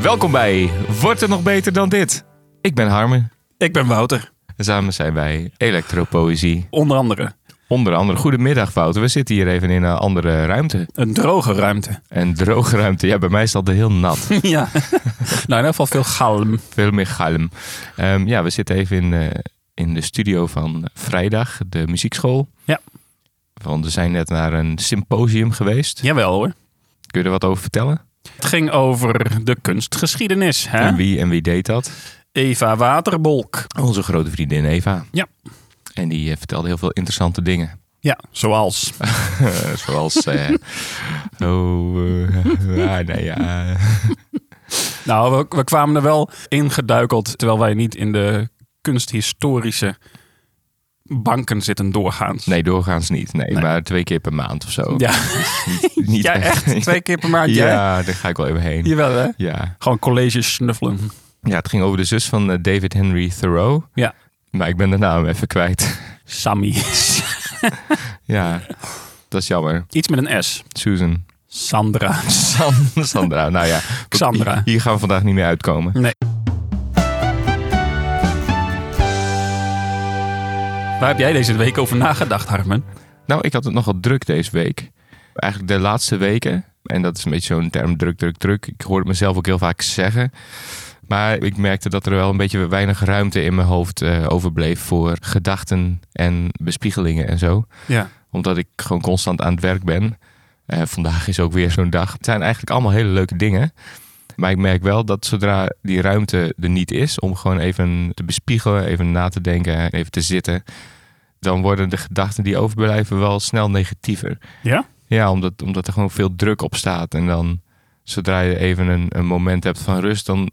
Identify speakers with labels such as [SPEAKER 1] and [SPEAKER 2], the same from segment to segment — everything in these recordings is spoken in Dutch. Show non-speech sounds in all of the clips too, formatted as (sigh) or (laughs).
[SPEAKER 1] Welkom bij Wordt het nog beter dan dit? Ik ben Harmen
[SPEAKER 2] Ik ben Wouter,
[SPEAKER 1] en samen zijn wij Elektropoëzie.
[SPEAKER 2] onder andere.
[SPEAKER 1] Onder andere, goedemiddag Wouter. We zitten hier even in een andere ruimte.
[SPEAKER 2] Een droge (laughs) ruimte.
[SPEAKER 1] Een droge ruimte. Ja, bij mij is dat heel
[SPEAKER 2] (laughs)
[SPEAKER 1] nat.
[SPEAKER 2] ja. nou, in elk geval veel galm.
[SPEAKER 1] Veel meer galm. Ehm, ja, we zitten even in, eh, in de studio van Vrijdag, de muziekschool.
[SPEAKER 2] Ja.
[SPEAKER 1] Want we zijn net naar een symposium geweest.
[SPEAKER 2] Jawel hoor.
[SPEAKER 1] Kun je er wat over vertellen?
[SPEAKER 2] Het ging over de kunstgeschiedenis, hè?
[SPEAKER 1] En wie en wie deed dat?
[SPEAKER 2] Eva Waterbolk.
[SPEAKER 1] Onze grote vriendin Eva.
[SPEAKER 2] Ja.
[SPEAKER 1] En die eh, vertelde heel veel interessante dingen.
[SPEAKER 2] Ja, zoals.
[SPEAKER 1] Zoals. (laughs) eh, oh. eh, ah, nee, ja.
[SPEAKER 2] Nou, we, we kwamen er wel ingeduikeld, terwijl wij niet in de kunsthistorische banken zitten doorgaans.
[SPEAKER 1] nee, doorgaans niet. Nee,
[SPEAKER 2] Nee.
[SPEAKER 1] maar twee keer per maand of zo.
[SPEAKER 2] Ja,
[SPEAKER 1] Niet, (laughs) niet
[SPEAKER 2] (laughs) ja echt. Twee keer per maand, ja. jij?
[SPEAKER 1] Ja, daar ga ik wel even heen.
[SPEAKER 2] Jawel, hè?
[SPEAKER 1] Ja.
[SPEAKER 2] Gewoon colleges snuffelen.
[SPEAKER 1] ja, het ging over de zus van eh, David Henry Thoreau.
[SPEAKER 2] Ja.
[SPEAKER 1] Maar ik ben de naam even kwijt. (laughs)
[SPEAKER 2] Sammy. (laughs)
[SPEAKER 1] ja, dat is jammer.
[SPEAKER 2] Iets met een S.
[SPEAKER 1] (laughs) Susan.
[SPEAKER 2] Sandra.
[SPEAKER 1] San- Sandra. Nou ja.
[SPEAKER 2] Xandra.
[SPEAKER 1] Hier gaan we vandaag niet meer uitkomen.
[SPEAKER 2] Nee. Waar heb jij deze week over nagedacht, Harmen?
[SPEAKER 1] Nou, ik had het nogal druk deze week. Eigenlijk de laatste weken. En dat is een beetje zo'n term druk, druk, druk. Ik hoor het mezelf ook heel vaak zeggen. Maar ik merkte dat er wel een beetje weinig ruimte in mijn hoofd eh, overbleef voor gedachten en bespiegelingen en zo.
[SPEAKER 2] Ja.
[SPEAKER 1] Omdat ik gewoon constant aan het werk ben. Eh, vandaag is ook weer zo'n dag. Het zijn eigenlijk allemaal hele leuke dingen. Maar ik merk wel dat zodra die ruimte er niet is om gewoon even te bespiegelen, even na te denken, even te zitten, dan worden de gedachten die overblijven wel snel negatiever.
[SPEAKER 2] Ja?
[SPEAKER 1] Ja, omdat, omdat er gewoon veel druk op staat. En dan zodra je even een, een moment hebt van rust, dan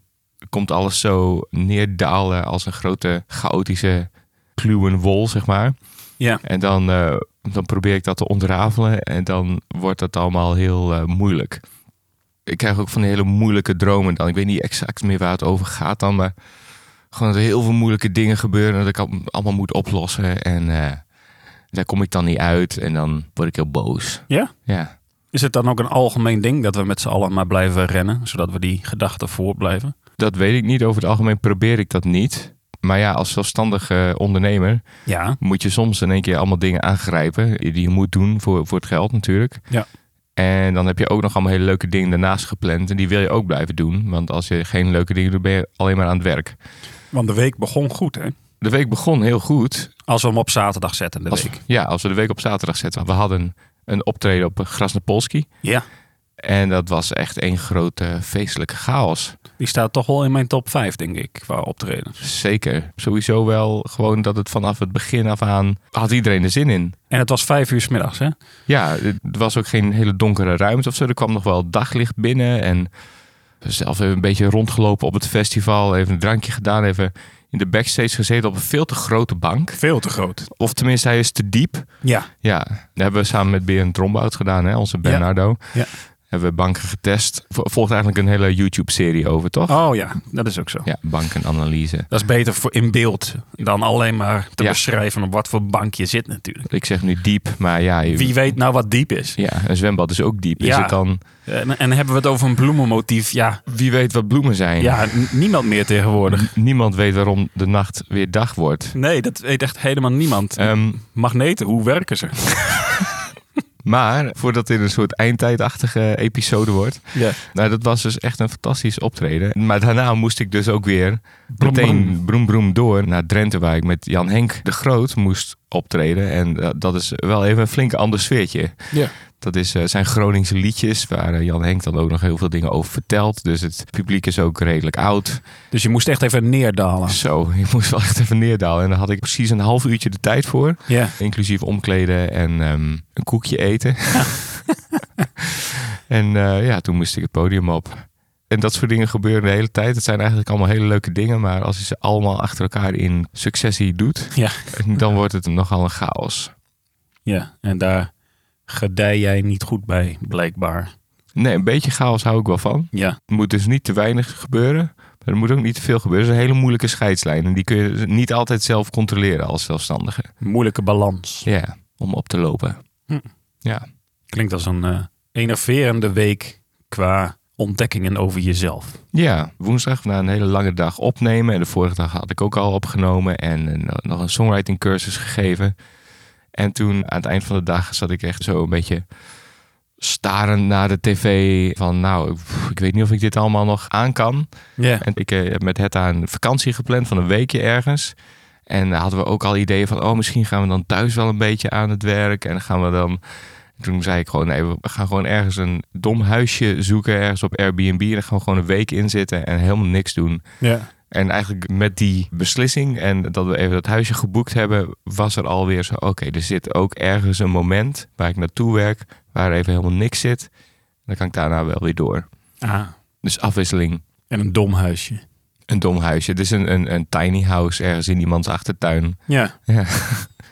[SPEAKER 1] komt alles zo neerdalen als een grote chaotische kluwenwol, zeg maar.
[SPEAKER 2] Ja.
[SPEAKER 1] En dan, eh, dan probeer ik dat te ontrafelen en dan wordt dat allemaal heel eh, moeilijk. Ik krijg ook van die hele moeilijke dromen dan. Ik weet niet exact meer waar het over gaat dan, maar gewoon dat er heel veel moeilijke dingen gebeuren en dat ik al- allemaal moet oplossen. En eh, daar kom ik dan niet uit en dan word ik heel boos.
[SPEAKER 2] Ja?
[SPEAKER 1] Ja.
[SPEAKER 2] Is het dan ook een algemeen ding dat we met z'n allen maar blijven rennen, zodat we die gedachten voortblijven?
[SPEAKER 1] Dat weet ik niet. Over het algemeen probeer ik dat niet. Maar ja, als zelfstandige ondernemer
[SPEAKER 2] Ja.
[SPEAKER 1] moet je soms in één keer allemaal dingen aangrijpen die je moet doen voor, voor het geld natuurlijk.
[SPEAKER 2] Ja.
[SPEAKER 1] En dan heb je ook nog allemaal hele leuke dingen daarnaast gepland en die wil je ook blijven doen. Want als je geen leuke dingen doet, ben je alleen maar aan het werk.
[SPEAKER 2] Want de week begon goed, hè?
[SPEAKER 1] De week begon heel goed.
[SPEAKER 2] Als we hem op zaterdag zetten, de
[SPEAKER 1] Als,
[SPEAKER 2] week.
[SPEAKER 1] ja, als we de week op zaterdag zetten. We hadden een optreden op Grasnopolski.
[SPEAKER 2] Ja.
[SPEAKER 1] En dat was echt één grote feestelijke chaos.
[SPEAKER 2] Die staat toch wel in mijn top 5, denk ik, qua optredens.
[SPEAKER 1] Zeker. Sowieso wel gewoon dat het vanaf het begin af aan had iedereen er zin in.
[SPEAKER 2] En het was vijf uur 's middags, hè?
[SPEAKER 1] Ja, het was ook geen hele donkere ruimte of zo. Er kwam nog wel daglicht binnen en zelf even een beetje rondgelopen op het festival. Even een drankje gedaan, even in de backstage gezeten op een veel te grote bank.
[SPEAKER 2] Veel te groot.
[SPEAKER 1] Of tenminste, hij is te diep.
[SPEAKER 2] Ja.
[SPEAKER 1] Ja, dat hebben we samen met Berend Trombout gedaan, hè? onze Bernardo.
[SPEAKER 2] Ja.
[SPEAKER 1] Hebben we banken getest. Vo- Volgt eigenlijk een hele YouTube-serie over, toch?
[SPEAKER 2] Oh ja, dat is ook zo.
[SPEAKER 1] Ja, bankenanalyse.
[SPEAKER 2] Dat is beter voor in beeld dan alleen maar te
[SPEAKER 1] Ja.
[SPEAKER 2] beschrijven op wat voor bank je zit natuurlijk.
[SPEAKER 1] Ik zeg nu diep, maar ja, je-
[SPEAKER 2] Wie weet nou wat diep is.
[SPEAKER 1] Ja, een zwembad is ook diep. Is
[SPEAKER 2] Ja.
[SPEAKER 1] het dan,
[SPEAKER 2] En, en hebben we het over een bloemenmotief? Ja,
[SPEAKER 1] wie weet wat bloemen zijn?
[SPEAKER 2] ja n- niemand meer tegenwoordig.
[SPEAKER 1] Niemand weet waarom de nacht weer dag wordt.
[SPEAKER 2] Nee, dat weet echt helemaal niemand.
[SPEAKER 1] Ehm,
[SPEAKER 2] Magneten, hoe werken ze?
[SPEAKER 1] maar voordat dit een soort eindtijdachtige episode wordt.
[SPEAKER 2] (laughs) Ja.
[SPEAKER 1] Nou, dat was dus echt een fantastisch optreden. Maar daarna moest ik dus ook weer
[SPEAKER 2] Broem,
[SPEAKER 1] meteen
[SPEAKER 2] broem.
[SPEAKER 1] broem broem door naar Drenthe. Waar ik met Jan Henk de Groot moest optreden. En dat- dat is wel even een flink ander sfeertje.
[SPEAKER 2] Ja.
[SPEAKER 1] Dat is, eh, zijn Groningse liedjes. Waar eh, Jan Henk dan ook nog heel veel dingen over vertelt. Dus het publiek is ook redelijk oud.
[SPEAKER 2] Dus je moest echt even neerdalen.
[SPEAKER 1] Zo, (laughs) ik moest wel echt even neerdalen. En daar had ik precies een half uurtje de tijd voor.
[SPEAKER 2] Ja.
[SPEAKER 1] Inclusief omkleden en ehm, een koekje eten. en eh, ja, toen moest ik het podium op. En dat soort dingen gebeuren de hele tijd. Het zijn eigenlijk allemaal hele leuke dingen. Maar als je ze allemaal achter elkaar in successie doet,
[SPEAKER 2] Ja.
[SPEAKER 1] dan wordt het nogal een chaos.
[SPEAKER 2] ja, en daar gedij jij niet goed bij, blijkbaar.
[SPEAKER 1] Nee, een beetje chaos hou ik wel van.
[SPEAKER 2] Ja,
[SPEAKER 1] Er moet dus niet te weinig gebeuren. Maar er moet ook niet te veel gebeuren. Het is een hele moeilijke scheidslijn. En die kun je niet altijd zelf controleren als zelfstandige.
[SPEAKER 2] moeilijke balans.
[SPEAKER 1] Ja, om op te lopen.
[SPEAKER 2] Hm.
[SPEAKER 1] Ja.
[SPEAKER 2] Klinkt als een eh enerverende week qua ontdekkingen over jezelf.
[SPEAKER 1] Ja, woensdag na een hele lange dag opnemen. En de vorige dag had ik ook al opgenomen en eh, nog een songwriting cursus gegeven. En toen aan het eind van de dag zat ik echt zo een beetje starend naar de tv. Van nou, pff, ik weet niet of ik dit allemaal nog aan kan.
[SPEAKER 2] Ja.
[SPEAKER 1] En ik eh, heb met Hetta een vakantie gepland van een weekje ergens. En daar hadden we ook al ideeën van, oh, misschien gaan we dan thuis wel een beetje aan het werk. En dan gaan we dan... Toen zei ik gewoon, nee, we gaan gewoon ergens een dom huisje zoeken, ergens op Airbnb. En dan gaan we gewoon een week in zitten en helemaal niks doen.
[SPEAKER 2] ja.
[SPEAKER 1] En eigenlijk met die beslissing en dat we even dat huisje geboekt hebben, was er alweer zo, oké, er zit ook ergens een moment waar ik naartoe werk, waar even helemaal niks zit. Dan kan ik daarna wel weer door.
[SPEAKER 2] Ah,
[SPEAKER 1] Dus afwisseling
[SPEAKER 2] en een dom huisje.
[SPEAKER 1] een dom huisje. Het is een, een, een tiny house ergens in iemands achtertuin.
[SPEAKER 2] Ja.
[SPEAKER 1] Ja.
[SPEAKER 2] (laughs)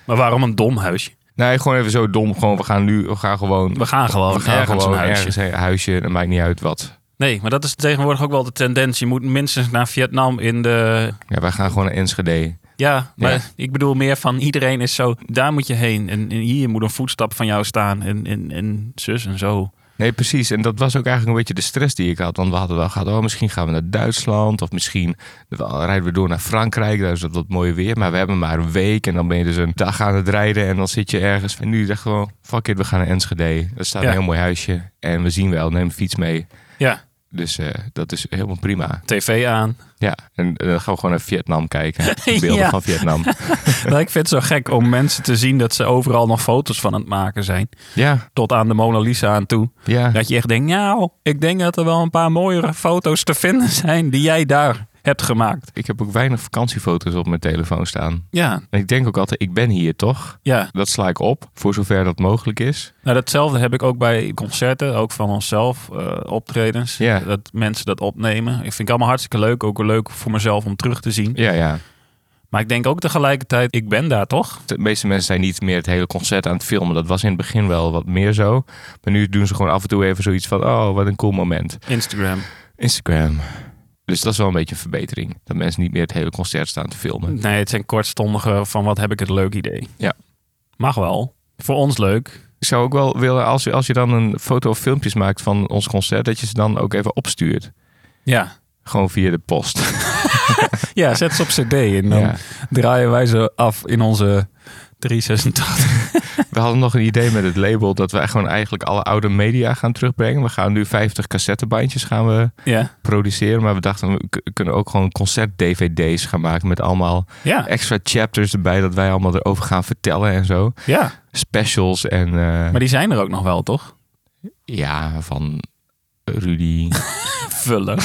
[SPEAKER 2] Maar waarom een dom huisje?
[SPEAKER 1] Nee, gewoon even zo dom. Gewoon, we gaan nu, we gaan gewoon,
[SPEAKER 2] We gaan gewoon
[SPEAKER 1] we gaan
[SPEAKER 2] ergens
[SPEAKER 1] gewoon
[SPEAKER 2] een huisje.
[SPEAKER 1] ergens een huisje. Dat maakt niet uit wat.
[SPEAKER 2] Nee, maar dat is tegenwoordig ook wel de tendens. Je moet minstens naar Vietnam in de...
[SPEAKER 1] Ja, wij gaan gewoon naar Enschede.
[SPEAKER 2] Ja, maar
[SPEAKER 1] Ja.
[SPEAKER 2] ik bedoel meer van iedereen is zo... Daar moet je heen en, en hier moet een voetstap van jou staan en, en, en zus en zo.
[SPEAKER 1] Nee, precies. En dat was ook eigenlijk een beetje de stress die ik had. Want we hadden wel gehad, oh, misschien gaan we naar Duitsland. Of misschien rijden we door naar Frankrijk. Daar is dat wat mooie weer. Maar we hebben maar een week. En dan ben je dus een dag aan het rijden. En dan zit je ergens. En nu dacht ik gewoon, fuck it, we gaan naar Enschede. Daar staat
[SPEAKER 2] Ja.
[SPEAKER 1] een heel mooi huisje. En we zien wel, neem de fiets mee.
[SPEAKER 2] Ja,
[SPEAKER 1] Dus eh, dat is helemaal prima.
[SPEAKER 2] tv aan. (laughs)
[SPEAKER 1] Ja, en eh, dan gaan we gewoon naar Vietnam kijken. Beelden
[SPEAKER 2] Ja.
[SPEAKER 1] van Vietnam.
[SPEAKER 2] Maar ik vind het zo gek om mensen te zien dat ze overal nog foto's van aan het maken zijn.
[SPEAKER 1] Ja,
[SPEAKER 2] Tot aan de Mona Lisa aan toe.
[SPEAKER 1] ja.
[SPEAKER 2] Dat je echt denkt, nou, ik denk dat er wel een paar mooiere foto's te vinden zijn die jij daar hebt gemaakt.
[SPEAKER 1] Ik heb ook weinig vakantiefoto's op mijn telefoon staan.
[SPEAKER 2] Ja,
[SPEAKER 1] En ik denk ook altijd, ik ben hier toch?
[SPEAKER 2] ja.
[SPEAKER 1] Dat sla ik op, voor zover dat mogelijk is.
[SPEAKER 2] Nou, datzelfde heb ik ook bij concerten, ook van onszelf, eh, optredens.
[SPEAKER 1] Ja.
[SPEAKER 2] Dat mensen dat opnemen. Ik vind het allemaal hartstikke leuk. Ook leuk voor mezelf om terug te zien.
[SPEAKER 1] Ja, ja.
[SPEAKER 2] Maar ik denk ook tegelijkertijd, ik ben daar toch?
[SPEAKER 1] De meeste mensen zijn niet meer het hele concert aan het filmen. Dat was in het begin wel wat meer zo. Maar nu doen ze gewoon af en toe even zoiets van, oh, wat een cool moment.
[SPEAKER 2] Instagram.
[SPEAKER 1] Instagram. Dus dat is wel een beetje een verbetering. Dat mensen niet meer het hele concert staan te filmen.
[SPEAKER 2] Nee, het zijn kortstondige van wat heb ik het leuk idee.
[SPEAKER 1] Ja.
[SPEAKER 2] Mag wel. Voor ons leuk.
[SPEAKER 1] Ik zou ook wel willen, als je, als je dan een foto of filmpjes maakt van ons concert, dat je ze dan ook even opstuurt.
[SPEAKER 2] Ja.
[SPEAKER 1] Gewoon via de post.
[SPEAKER 2] Ja, zet ze op cd en dan
[SPEAKER 1] (laughs) Ja.
[SPEAKER 2] draaien wij ze af in onze 386.
[SPEAKER 1] We hadden nog een idee met het label dat we gewoon eigenlijk alle oude media gaan terugbrengen. We gaan nu 50 cassettebandjes gaan we
[SPEAKER 2] Ja.
[SPEAKER 1] produceren. Maar we dachten, we k- kunnen ook gewoon concert-dvd's gaan maken met allemaal
[SPEAKER 2] Ja.
[SPEAKER 1] extra chapters erbij. Dat wij allemaal erover gaan vertellen en zo.
[SPEAKER 2] Ja.
[SPEAKER 1] Specials en eh,
[SPEAKER 2] Maar die zijn er ook nog wel, toch?
[SPEAKER 1] ja, van Rudy. (laughs)
[SPEAKER 2] Vullen.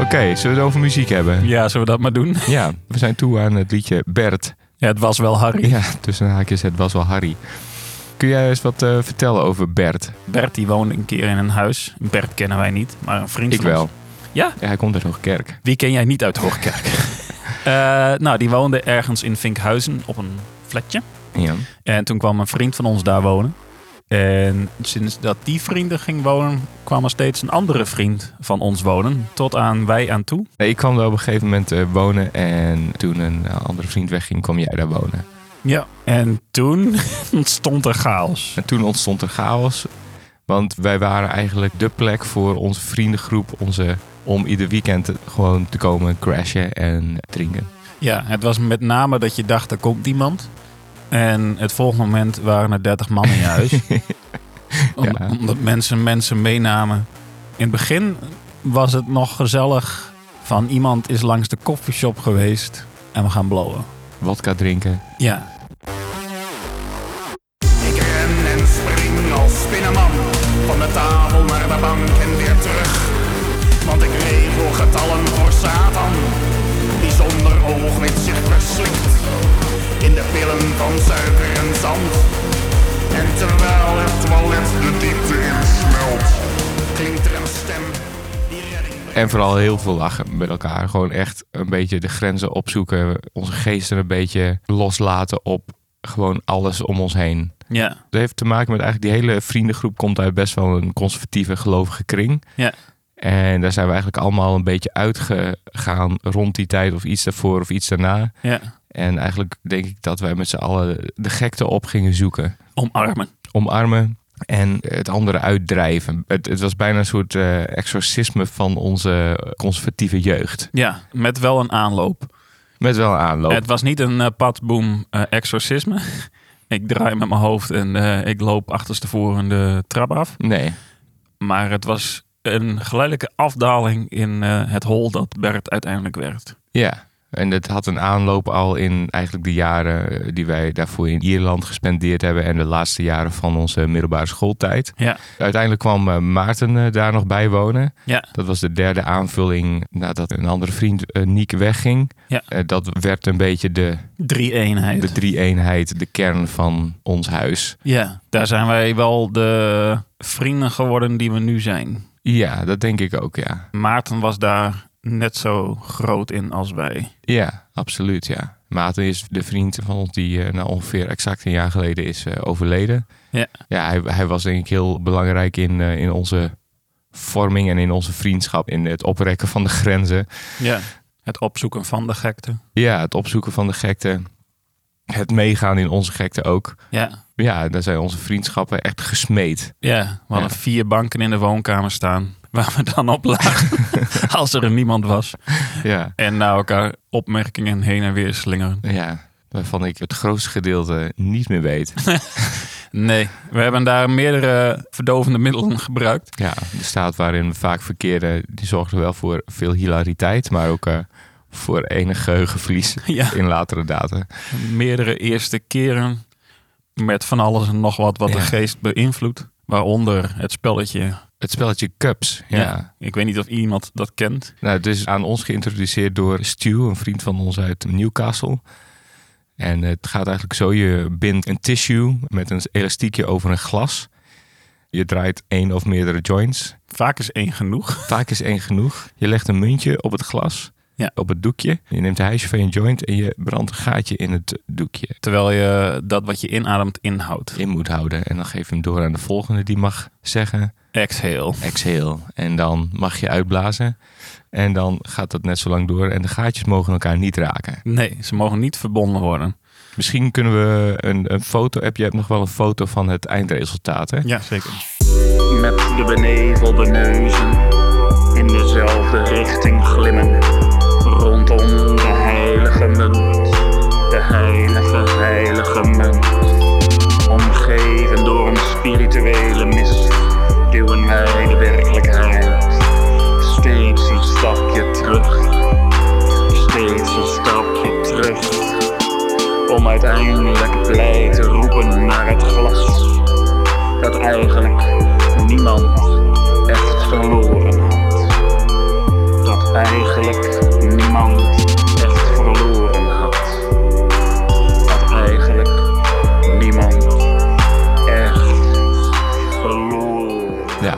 [SPEAKER 1] Oké, zullen we het over muziek hebben?
[SPEAKER 2] Ja, zullen we dat maar doen?
[SPEAKER 1] Ja, we zijn toe aan het liedje Bert.
[SPEAKER 2] Ja, het was wel Harry.
[SPEAKER 1] Ja, tussen haakjes, het was wel Harry. Kun jij eens wat eh, vertellen over Bert?
[SPEAKER 2] Bert die woonde een keer in een huis. Bert kennen wij niet, maar een vriend
[SPEAKER 1] Ik
[SPEAKER 2] van
[SPEAKER 1] wel.
[SPEAKER 2] ons. Ja?
[SPEAKER 1] Hij komt uit Hoogkerk.
[SPEAKER 2] Die ken jij niet uit
[SPEAKER 1] (laughs)
[SPEAKER 2] Hoogkerk. Eh, nou, die woonde ergens in Vinkhuizen op een flatje.
[SPEAKER 1] Ja.
[SPEAKER 2] En toen kwam een vriend van ons daar wonen. En sinds dat die vrienden ging wonen, kwam er steeds een andere vriend van ons wonen. Tot aan wij aan toe.
[SPEAKER 1] Nee, ik kwam daar op een gegeven moment eh, wonen en toen een eh, andere vriend wegging, kwam jij daar wonen.
[SPEAKER 2] Ja. En toen (laughs) ontstond er chaos.
[SPEAKER 1] En toen ontstond er chaos, want wij waren eigenlijk de plek voor onze vriendengroep, onze, om ieder weekend gewoon te komen crashen en drinken.
[SPEAKER 2] Ja, het was met name dat je dacht, er komt iemand. En het volgende moment waren er 30 man in je (laughs) huis. Om-
[SPEAKER 1] Ja.
[SPEAKER 2] Omdat mensen mensen meenamen. In het begin was het nog gezellig van iemand is langs de koffieshop geweest en we gaan blowen.
[SPEAKER 1] Wodka drinken.
[SPEAKER 2] Ja,
[SPEAKER 3] Ik ren en spring als spinnenman van de tafel naar de bank en weer terug. Want ik regel getallen voor Satan, die zonder oogwit zich verslikt in de pillen van suiker en zand. En terwijl het toilet de diepte insmelt, klinkt er een stem die redding brengt.
[SPEAKER 1] En vooral heel veel lachen met elkaar. Gewoon echt een beetje de grenzen opzoeken, onze geesten een beetje loslaten op gewoon alles om ons heen.
[SPEAKER 2] ja,
[SPEAKER 1] Het heeft te maken met eigenlijk die hele vriendengroep komt uit best wel een conservatieve gelovige kring.
[SPEAKER 2] Ja.
[SPEAKER 1] En daar zijn we eigenlijk allemaal een beetje uitgegaan rond die tijd of iets daarvoor of iets daarna.
[SPEAKER 2] ja.
[SPEAKER 1] En eigenlijk denk ik dat wij met z'n allen de gekte op gingen zoeken.
[SPEAKER 2] Omarmen.
[SPEAKER 1] Omarmen en het andere uitdrijven. Het, het was bijna een soort eh, exorcisme van onze conservatieve jeugd.
[SPEAKER 2] Ja, met wel een aanloop.
[SPEAKER 1] Met wel een aanloop.
[SPEAKER 2] Het was niet een eh padboom eh, exorcisme. (laughs) ik draai met mijn hoofd en eh, ik loop achterstevoren de trap af.
[SPEAKER 1] Nee.
[SPEAKER 2] Maar het was een geleidelijke afdaling in eh, het hol dat Bert uiteindelijk werd.
[SPEAKER 1] Ja. En het had een aanloop al in eigenlijk de jaren eh, die wij daarvoor in Ierland gespendeerd hebben. En de laatste jaren van onze middelbare schooltijd.
[SPEAKER 2] Ja.
[SPEAKER 1] Uiteindelijk kwam eh, Maarten eh, daar nog bij wonen.
[SPEAKER 2] Ja.
[SPEAKER 1] Dat was de derde aanvulling nadat een andere vriend, eh, Niek, wegging.
[SPEAKER 2] Ja.
[SPEAKER 1] Eh, dat werd een beetje de,
[SPEAKER 2] Drie eenheid.
[SPEAKER 1] de drie-eenheid, de kern van ons huis.
[SPEAKER 2] Ja, daar zijn wij wel de vrienden geworden die we nu zijn.
[SPEAKER 1] Ja, dat denk ik ook, ja.
[SPEAKER 2] Maarten was daar net zo groot in als wij.
[SPEAKER 1] Ja, absoluut, ja. Maarten is de vriend van ons die eh, nou ongeveer exact een jaar geleden is eh, overleden.
[SPEAKER 2] Ja.
[SPEAKER 1] Ja, hij, hij was denk ik heel belangrijk in, eh, in onze vorming en in onze vriendschap. In het oprekken van de grenzen.
[SPEAKER 2] Ja. Het opzoeken van de gekte.
[SPEAKER 1] Ja, het opzoeken van de gekte. Het meegaan in onze gekte ook.
[SPEAKER 2] Ja.
[SPEAKER 1] Ja, daar zijn onze vriendschappen echt gesmeed.
[SPEAKER 2] Ja, we hadden
[SPEAKER 1] Ja.
[SPEAKER 2] vier banken in de woonkamer staan waar we dan op lagen
[SPEAKER 1] (laughs)
[SPEAKER 2] als er niemand was.
[SPEAKER 1] Ja,
[SPEAKER 2] En naar elkaar opmerkingen heen en weer slingeren.
[SPEAKER 1] ja waarvan ik het grootste gedeelte niet meer weet.
[SPEAKER 2] Nee, we hebben daar meerdere verdovende middelen gebruikt.
[SPEAKER 1] Ja, de staat waarin we vaak verkeren, die zorgde wel voor veel hilariteit, maar ook eh, voor enig geheugenverlies
[SPEAKER 2] (laughs) Ja,
[SPEAKER 1] in latere data.
[SPEAKER 2] meerdere eerste keren met van alles en nog wat wat de
[SPEAKER 1] Ja.
[SPEAKER 2] geest beïnvloedt. Waaronder het spelletje.
[SPEAKER 1] Het spelletje Cups, ja.
[SPEAKER 2] Ik weet niet of iemand dat kent.
[SPEAKER 1] Nou, het is aan ons geïntroduceerd door Stu, een vriend van ons uit Newcastle. En het gaat eigenlijk zo, je bindt een tissue met een elastiekje over een glas. Je draait één of meerdere joints.
[SPEAKER 2] Vaak is één genoeg.
[SPEAKER 1] Vaak is één genoeg. Je legt een muntje op het glas,
[SPEAKER 2] Ja.
[SPEAKER 1] op het doekje. Je neemt een huisje van je joint en je brandt een gaatje in het doekje.
[SPEAKER 2] Terwijl je dat wat je inademt inhoudt.
[SPEAKER 1] in moet houden. En dan geef je hem door aan de volgende die mag zeggen
[SPEAKER 2] Exhale.
[SPEAKER 1] exhale. En dan mag je uitblazen. En dan gaat dat net zo lang door. En de gaatjes mogen elkaar niet raken.
[SPEAKER 2] Nee, ze mogen niet verbonden worden.
[SPEAKER 1] Misschien kunnen we een, een foto hebben. Je hebt nog wel een foto van het eindresultaat. Hè?
[SPEAKER 2] Ja, zeker.
[SPEAKER 4] met de benevelde neuzen in dezelfde richting glimmen. Rondom de heilige munt, de heilige, heilige munt. Omgeven door een spirituele mist, duwen wij de werkelijkheid steeds een stapje terug. Steeds een stapje terug, om uiteindelijk blij te roepen naar het glas dat eigenlijk niemand echt verloren had. Dat eigenlijk niemand echt verloren had. Dat eigenlijk niemand echt verloren
[SPEAKER 1] Ja,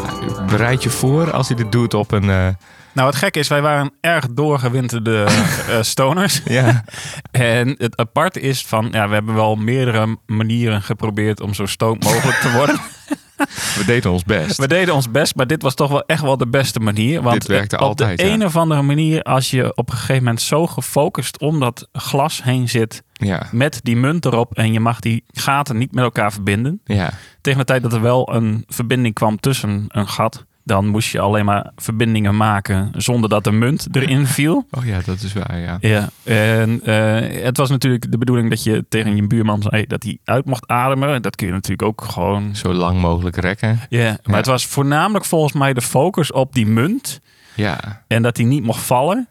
[SPEAKER 1] bereid je voor als hij dit doet op een... eh,
[SPEAKER 2] Nou, het gekke is, wij waren erg
[SPEAKER 1] (laughs)
[SPEAKER 2] doorgewinterde eh, stoners.
[SPEAKER 1] ja,
[SPEAKER 2] En het aparte is van, ja, we hebben wel meerdere manieren geprobeerd om zo stoned mogelijk te worden.
[SPEAKER 1] (laughs) (laughs) we deden ons best.
[SPEAKER 2] We deden ons best, maar dit was toch wel echt wel de beste manier. Want
[SPEAKER 1] Dit werkte
[SPEAKER 2] op
[SPEAKER 1] altijd,
[SPEAKER 2] de
[SPEAKER 1] ja.
[SPEAKER 2] een of andere manier, als je op een gegeven moment zo gefocust om dat glas heen zit
[SPEAKER 1] Ja,
[SPEAKER 2] met die munt erop en je mag die gaten niet met elkaar verbinden.
[SPEAKER 1] ja,
[SPEAKER 2] Tegen de tijd dat er wel een verbinding kwam tussen een gat, dan moest je alleen maar verbindingen maken zonder dat de munt erin viel.
[SPEAKER 1] oh ja, dat is waar, ja.
[SPEAKER 2] Ja, en eh, het was natuurlijk de bedoeling dat je tegen je buurman zei dat hij uit mocht ademen. Dat kun je natuurlijk ook gewoon.
[SPEAKER 1] Zo lang mogelijk rekken.
[SPEAKER 2] Ja, maar
[SPEAKER 1] Ja.
[SPEAKER 2] het was voornamelijk volgens mij de focus op die munt
[SPEAKER 1] Ja,
[SPEAKER 2] en dat hij niet mocht vallen.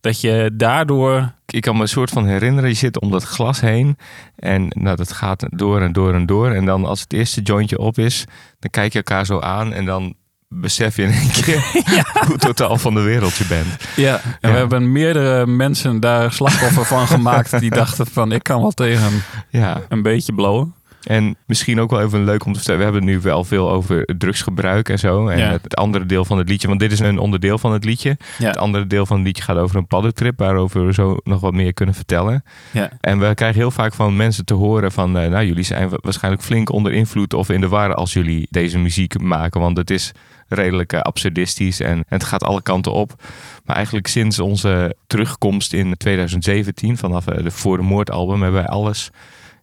[SPEAKER 2] Dat je daardoor.
[SPEAKER 1] ik kan me een soort van herinneren. Je zit om dat glas heen. En nou, dat gaat door en door en door. En dan als het eerste jointje op is, dan kijk je elkaar zo aan. En dan besef je in één
[SPEAKER 2] (laughs)
[SPEAKER 1] keer (laughs) hoe totaal van de wereld je bent.
[SPEAKER 2] Ja, en we
[SPEAKER 1] Ja.
[SPEAKER 2] hebben meerdere mensen daar slachtoffer (laughs) van gemaakt. Die dachten van ik kan wel tegen
[SPEAKER 1] Ja,
[SPEAKER 2] een beetje blowen.
[SPEAKER 1] en misschien ook wel even leuk om te vertellen. We hebben het nu wel veel over drugsgebruik en zo. En
[SPEAKER 2] Ja.
[SPEAKER 1] het andere deel van het liedje, want dit is een onderdeel van het liedje. Het
[SPEAKER 2] Ja,
[SPEAKER 1] andere deel van het liedje gaat over een paddentrip, waarover we zo nog wat meer kunnen vertellen.
[SPEAKER 2] ja.
[SPEAKER 1] En we krijgen heel vaak van mensen te horen van... eh, nou, jullie zijn wa- waarschijnlijk flink onder invloed of in de war... als jullie deze muziek maken. Want het is redelijk eh, absurdistisch en het gaat alle kanten op. Maar eigenlijk sinds onze terugkomst in 2017, vanaf eh, de Voor de Moord album, hebben wij alles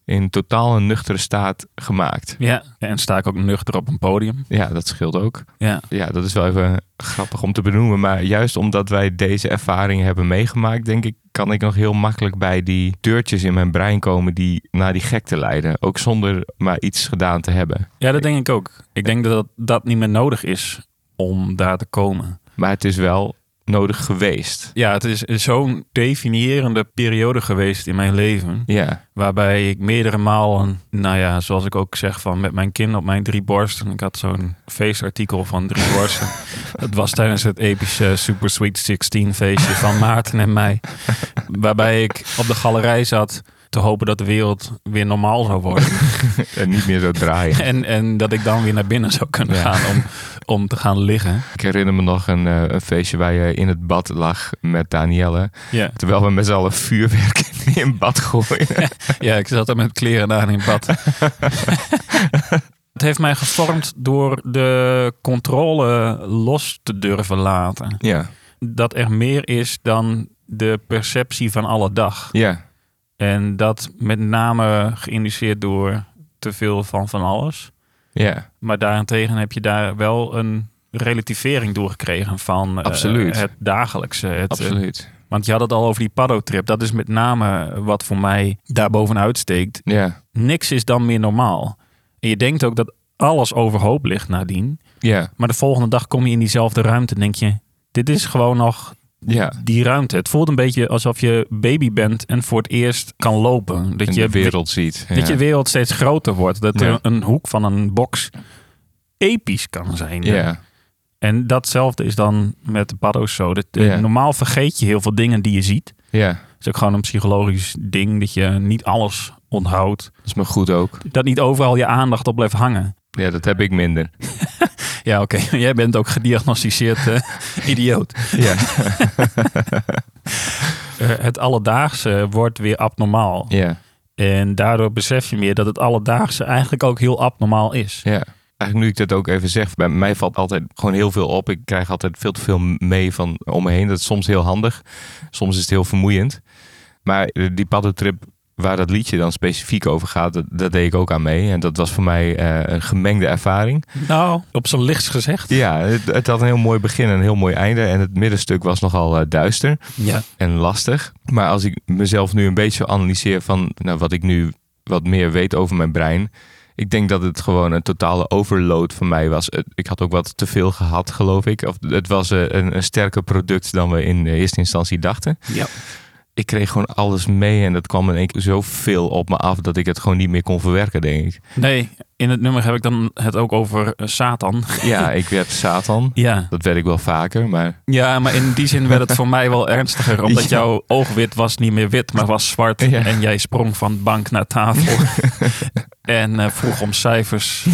[SPEAKER 1] in totaal een nuchtere staat gemaakt.
[SPEAKER 2] Ja. En sta ik ook nuchter op een podium.
[SPEAKER 1] Ja, dat scheelt ook.
[SPEAKER 2] Ja.
[SPEAKER 1] Ja, dat is wel even grappig om te benoemen. Maar juist omdat wij deze ervaring hebben meegemaakt, denk ik, kan ik nog heel makkelijk bij die deurtjes in mijn brein komen die naar die gekte leiden. Ook zonder maar iets gedaan te hebben.
[SPEAKER 2] ja, dat denk ik ook. Ik denk dat dat niet meer nodig is om daar te komen.
[SPEAKER 1] Maar het is wel nodig geweest.
[SPEAKER 2] Ja, het is zo'n definiërende periode geweest in mijn leven.
[SPEAKER 1] Ja,
[SPEAKER 2] Waarbij ik meerdere malen, nou ja, zoals ik ook zeg, van met mijn kin op mijn drie borsten. Ik had zo'n feestartikel van drie borsten. Dat was tijdens het epische Super Sweet 16 feestje van Maarten en mij. Waarbij ik op de galerij zat te hopen dat de wereld weer normaal zou worden.
[SPEAKER 1] en niet meer zo draaien.
[SPEAKER 2] En, en dat ik dan weer naar binnen zou kunnen
[SPEAKER 1] Ja.
[SPEAKER 2] gaan om, om te gaan liggen.
[SPEAKER 1] (laughs) Ik herinner me nog een, eh, een feestje waar je in het bad lag met Danielle.
[SPEAKER 2] Ja.
[SPEAKER 1] Terwijl we met z'n allen vuurwerk (laughs) in het bad gooien.
[SPEAKER 2] Ja, ik zat er met kleren aan in
[SPEAKER 1] (laughs)
[SPEAKER 2] bad. Het heeft mij gevormd door de controle los te durven laten.
[SPEAKER 1] Ja,
[SPEAKER 2] Dat er meer is dan de perceptie van alle dag.
[SPEAKER 1] ja,
[SPEAKER 2] En dat met name geïndiceerd door te veel van van alles.
[SPEAKER 1] ja.
[SPEAKER 2] Maar daarentegen heb je daar wel een relativering door gekregen van eh,
[SPEAKER 1] Absoluut.
[SPEAKER 2] het dagelijkse. Het, eh,
[SPEAKER 1] Absoluut.
[SPEAKER 2] want je had het al over die paddo-trip. Dat is met name wat voor mij daarbovenuit steekt
[SPEAKER 1] Ja,
[SPEAKER 2] niks is dan meer normaal. En je denkt ook dat alles overhoop ligt nadien.
[SPEAKER 1] ja,
[SPEAKER 2] Maar de volgende dag kom je in diezelfde ruimte en denk je... dit is gewoon nog
[SPEAKER 1] ja.
[SPEAKER 2] die ruimte. Het voelt een beetje alsof je baby bent en voor het eerst kan lopen. Dat
[SPEAKER 1] En
[SPEAKER 2] je
[SPEAKER 1] de wereld ziet.
[SPEAKER 2] Dat je
[SPEAKER 1] ja.
[SPEAKER 2] wereld steeds groter wordt. Dat
[SPEAKER 1] Ja.
[SPEAKER 2] er een hoek van een box episch kan zijn.
[SPEAKER 1] Ja,
[SPEAKER 2] En datzelfde is dan met de paddo's zo. Dat, eh,
[SPEAKER 1] Ja.
[SPEAKER 2] Normaal vergeet je heel veel dingen die je ziet.
[SPEAKER 1] ja.
[SPEAKER 2] Dat is ook gewoon een psychologisch ding. Dat je niet alles onthoudt.
[SPEAKER 1] Dat is me goed ook.
[SPEAKER 2] Dat niet overal je aandacht op blijft hangen.
[SPEAKER 1] Ja, dat heb ik minder.
[SPEAKER 2] Ja, oké. (laughs) Jij bent ook gediagnosticeerd eh, (laughs) idioot.
[SPEAKER 1] Ja,
[SPEAKER 2] Eh, het alledaagse wordt weer abnormaal.
[SPEAKER 1] (laughs) ja,
[SPEAKER 2] En daardoor besef je meer dat het alledaagse eigenlijk ook heel abnormaal is.
[SPEAKER 1] ja. Eigenlijk nu ik dat ook even zeg, bij mij valt altijd gewoon heel veel op. Ik krijg altijd veel te veel mee van om me heen. Dat is soms heel handig, soms is het heel vermoeiend. Maar eh, die paddentrip waar dat liedje dan specifiek over gaat, dat, dat deed ik ook aan mee. En dat was voor mij eh, een gemengde ervaring.
[SPEAKER 2] Nou, op zijn lichts gezegd.
[SPEAKER 1] Ja, het, het had een heel mooi begin en een heel mooi einde. En het middenstuk was nogal eh, duister.
[SPEAKER 2] Ja.
[SPEAKER 1] en lastig. Maar als ik mezelf nu een beetje analyseer van nou, wat ik nu wat meer weet over mijn brein. Ik denk dat het gewoon een totale overload van mij was. Het- Ik had ook wat te veel gehad, geloof ik. Of het was eh, een, een sterker product dan we in de eerste instantie dachten.
[SPEAKER 2] Ja.
[SPEAKER 1] Ik kreeg gewoon alles mee en dat kwam in één keer zoveel op me af dat ik het gewoon niet meer kon verwerken, denk ik.
[SPEAKER 2] Nee, in het nummer heb ik dan het ook over eh, Satan.
[SPEAKER 1] Ja, (laughs) ik werd Satan.
[SPEAKER 2] (laughs) Ja.
[SPEAKER 1] Dat werd ik wel vaker, maar (laughs)
[SPEAKER 2] ja, maar in die zin werd het voor mij wel (laughs) ernstiger. Omdat
[SPEAKER 1] Ja.
[SPEAKER 2] jouw oogwit was niet meer wit, maar was zwart.
[SPEAKER 1] Ja.
[SPEAKER 2] En jij sprong van bank naar (laughs) tafel. en eh, vroeg om cijfers.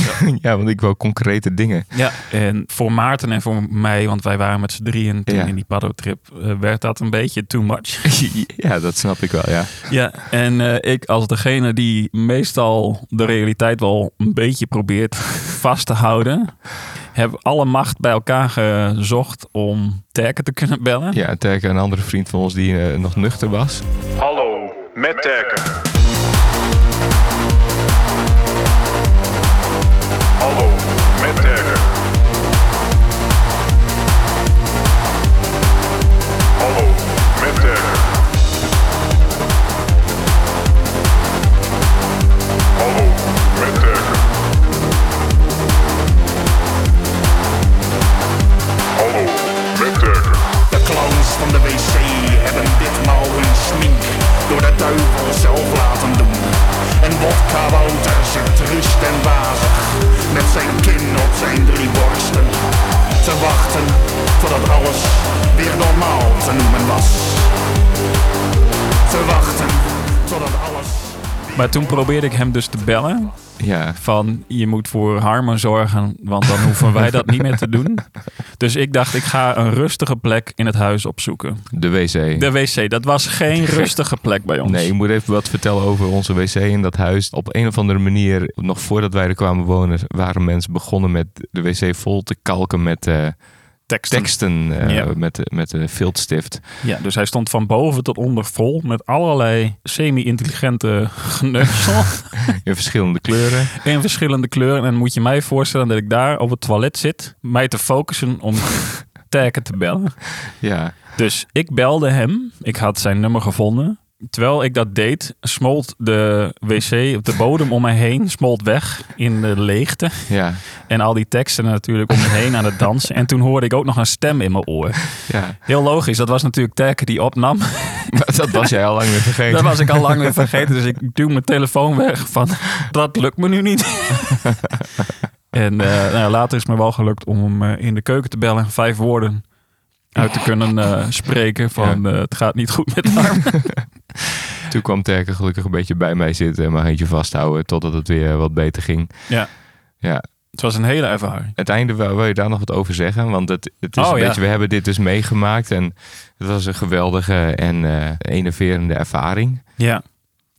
[SPEAKER 1] ja, want ik wou concrete dingen. (laughs)
[SPEAKER 2] Ja, en voor Maarten en voor mij, want wij waren met z'n drieën toen
[SPEAKER 1] Ja.
[SPEAKER 2] in die paddo-trip, eh, werd dat een beetje too much. (laughs)
[SPEAKER 1] Ja, dat snap ik wel, ja.
[SPEAKER 2] ja, en eh, ik als degene die meestal de realiteit wel een beetje probeert vast te houden, heb alle macht bij elkaar gezocht om Terken te kunnen bellen.
[SPEAKER 1] Ja, Terke, een andere vriend van ons die eh, nog nuchter was.
[SPEAKER 3] Hallo, met Terken. Hallo, met Terken. Hallo, met Terken. Hallo, met Terken. Hallo, met Terken. De clowns van de wc hebben ditmaal hun smink door de duivel zelf laten doen. En Wodka Wouter zit rust en wazig met zijn kin op zijn drie borsten. Te wachten totdat alles weer normaal te noemen was. Te wachten totdat alles...
[SPEAKER 2] Maar toen probeerde ik hem dus te bellen.
[SPEAKER 1] Ja.
[SPEAKER 2] van je moet voor harmen zorgen, want dan hoeven wij dat niet meer te
[SPEAKER 1] (laughs)
[SPEAKER 2] doen. Dus ik dacht, ik ga een rustige plek in het huis opzoeken.
[SPEAKER 1] De wc.
[SPEAKER 2] De wc, dat was geen rustige plek bij ons.
[SPEAKER 1] Nee, ik moet even wat vertellen over onze wc in dat huis. Op een of andere manier, nog voordat wij er kwamen wonen, waren mensen begonnen met de wc vol te kalken met eh,
[SPEAKER 2] teksten.
[SPEAKER 1] teksten, eh,
[SPEAKER 2] Ja.
[SPEAKER 1] met, de- met de viltstift.
[SPEAKER 2] Ja, dus hij stond van boven tot onder vol met allerlei semi-intelligente geneuzel
[SPEAKER 1] In verschillende kleuren.
[SPEAKER 2] in verschillende kleuren. En dan moet je mij voorstellen dat ik daar op het toilet zit, mij te focussen om taken te bellen.
[SPEAKER 1] Ja,
[SPEAKER 2] Dus ik belde hem. Ik had zijn nummer gevonden. Terwijl ik dat deed, smolt de wc op de bodem om mij heen, smolt weg in de leegte.
[SPEAKER 1] ja,
[SPEAKER 2] En al die teksten natuurlijk om me heen aan het dansen. En toen hoorde ik ook nog een stem in mijn oor.
[SPEAKER 1] ja.
[SPEAKER 2] Heel logisch, dat was natuurlijk Tekker die (laughs) opnam.
[SPEAKER 1] Maar dat was jij al lang weer vergeten.
[SPEAKER 2] Dat was ik al lang weer vergeten, dus ik duw mijn telefoon weg van dat lukt me nu niet. (laughs) En eh, nou, later is het me wel gelukt om hem eh, in de keuken te bellen, vijf woorden uit te kunnen eh, spreken van eh, het gaat niet goed met haar.
[SPEAKER 1] Toen kwam Terke gelukkig een beetje bij mij zitten en mijn handje vasthouden totdat het weer wat beter ging.
[SPEAKER 2] Ja.
[SPEAKER 1] Ja,
[SPEAKER 2] Het was een hele ervaring.
[SPEAKER 1] het einde wil, wil je daar nog wat over zeggen? Want het, het is
[SPEAKER 2] Oh,
[SPEAKER 1] een
[SPEAKER 2] ja.
[SPEAKER 1] beetje, we hebben dit dus meegemaakt en het was een geweldige en eh, enerverende ervaring.
[SPEAKER 2] Ja.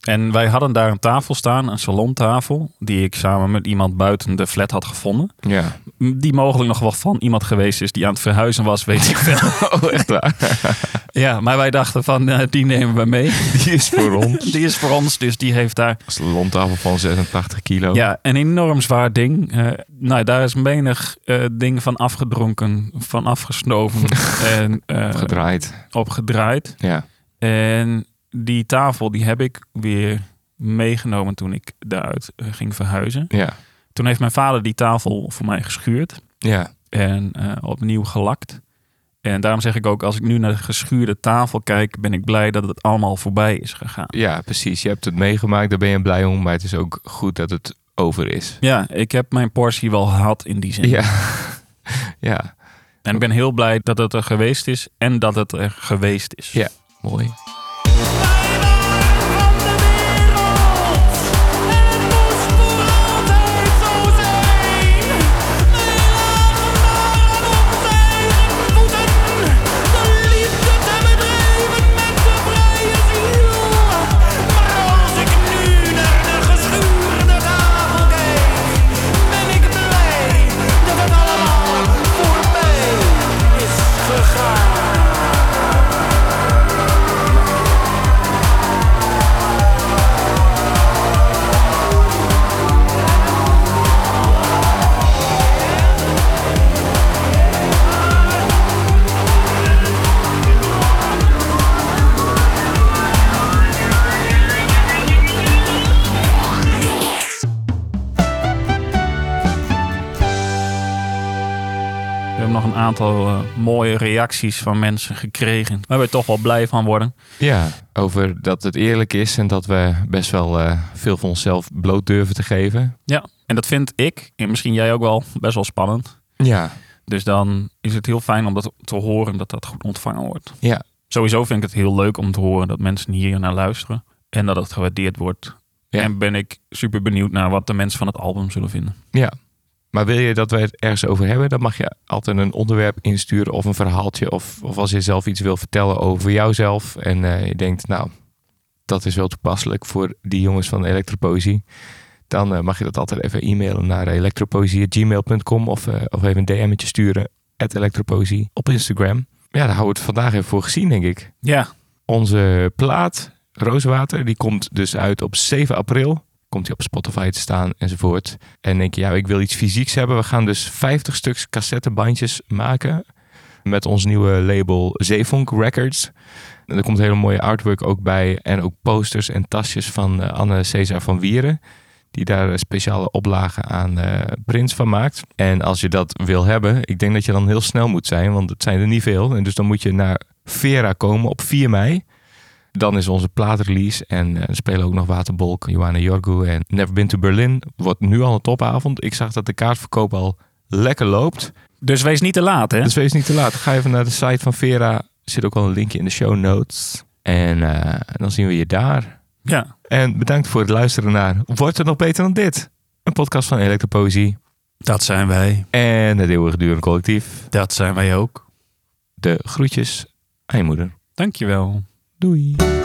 [SPEAKER 2] En wij hadden daar een tafel staan, een salontafel, die ik samen met iemand buiten de flat had gevonden.
[SPEAKER 1] Ja,
[SPEAKER 2] Die mogelijk nog wel van iemand geweest is die aan het verhuizen was, weet ik wel.
[SPEAKER 1] (laughs) oh, echt waar.
[SPEAKER 2] (laughs) Ja, maar wij dachten van, eh, die nemen we mee.
[SPEAKER 1] (laughs) Die is voor ons.
[SPEAKER 2] (laughs) Die is voor ons, dus die heeft daar
[SPEAKER 1] Als een lontafel van 86 kilo.
[SPEAKER 2] Ja, een enorm zwaar ding. Eh, nou, daar is menig eh, ding van afgedronken, van
[SPEAKER 1] (laughs)
[SPEAKER 2] afgesnoven en eh,
[SPEAKER 1] Gedraaid.
[SPEAKER 2] opgedraaid.
[SPEAKER 1] Ja.
[SPEAKER 2] En die tafel, die heb ik weer meegenomen toen ik daaruit eh, ging verhuizen.
[SPEAKER 1] Ja.
[SPEAKER 2] Toen heeft mijn vader die tafel voor mij geschuurd
[SPEAKER 1] Ja.
[SPEAKER 2] en eh, opnieuw gelakt. En daarom zeg ik ook, als ik nu naar de geschuurde tafel kijk, ben ik blij dat het allemaal voorbij is gegaan.
[SPEAKER 1] ja, precies. Je hebt het meegemaakt, daar ben je blij om. Maar het is ook goed dat het over is.
[SPEAKER 2] Ja, ik heb mijn portie wel gehad in die zin.
[SPEAKER 1] Ja. (laughs) ja.
[SPEAKER 2] En ik ben heel blij dat het er geweest is en dat het er geweest is.
[SPEAKER 1] Ja. Mooi.
[SPEAKER 2] We hebben nog een aantal eh, mooie reacties van mensen gekregen. Waar we toch wel blij van worden.
[SPEAKER 1] Ja, over dat het eerlijk is en dat we best wel eh, veel van onszelf bloot durven te geven.
[SPEAKER 2] Ja. En dat vind ik, en misschien jij ook wel, best wel spannend.
[SPEAKER 1] Ja.
[SPEAKER 2] Dus dan is het heel fijn om dat te horen dat dat goed ontvangen wordt.
[SPEAKER 1] Ja.
[SPEAKER 2] Sowieso vind ik het heel leuk om te horen dat mensen hier naar luisteren. En dat het gewaardeerd wordt.
[SPEAKER 1] Ja.
[SPEAKER 2] En ben ik super benieuwd naar wat de mensen van het album zullen vinden.
[SPEAKER 1] Ja. Maar wil je dat wij het ergens over hebben, dan mag je altijd een onderwerp insturen of een verhaaltje. Of, of als je zelf iets wil vertellen over jouzelf. En eh, je denkt, nou, dat is wel toepasselijk voor die jongens van Elektropoëzie. Dan eh, mag je dat altijd even e-mailen naar elektropoëzie.gmail.com of, eh, of even een DM'tje sturen. At elektropoëzie op Instagram. Ja, daar houden we het vandaag even voor gezien, denk ik.
[SPEAKER 2] Ja.
[SPEAKER 1] Onze plaat, Rooswater, die komt dus uit op 7 april. Komt die op Spotify te staan enzovoort. En denk je, ja, ik wil iets fysieks hebben. We gaan dus 50 stuks cassettebandjes maken. Met ons nieuwe label Zeevonk Records. En er komt hele mooie artwork ook bij. En ook posters en tasjes van eh, Anne Cesar van Wieren. Die daar een speciale oplagen aan eh prints van maakt. En als je dat wil hebben, ik denk dat je dan heel snel moet zijn. Want het zijn er niet veel. En dus dan moet je naar Vera komen op 4 mei. Dan is onze plaatrelease en eh, er spelen ook nog Waterbolk, Johanna Jorgu en Never Been to Berlin. Wordt nu al een topavond. Ik zag dat de kaartverkoop al lekker loopt.
[SPEAKER 2] Dus wees niet te laat, hè?
[SPEAKER 1] Dus wees niet te laat. Ga even naar de site van Vera. Er zit ook al een linkje in de show notes. En eh, dan zien we je daar.
[SPEAKER 2] Ja.
[SPEAKER 1] En bedankt voor het luisteren naar Wordt er nog beter dan dit? Een podcast van Elektropoëzie
[SPEAKER 2] Dat zijn wij.
[SPEAKER 1] en het eeuwig durende collectief.
[SPEAKER 2] Dat zijn wij ook.
[SPEAKER 1] De groetjes aan je moeder.
[SPEAKER 2] Dankjewel.
[SPEAKER 1] Doei.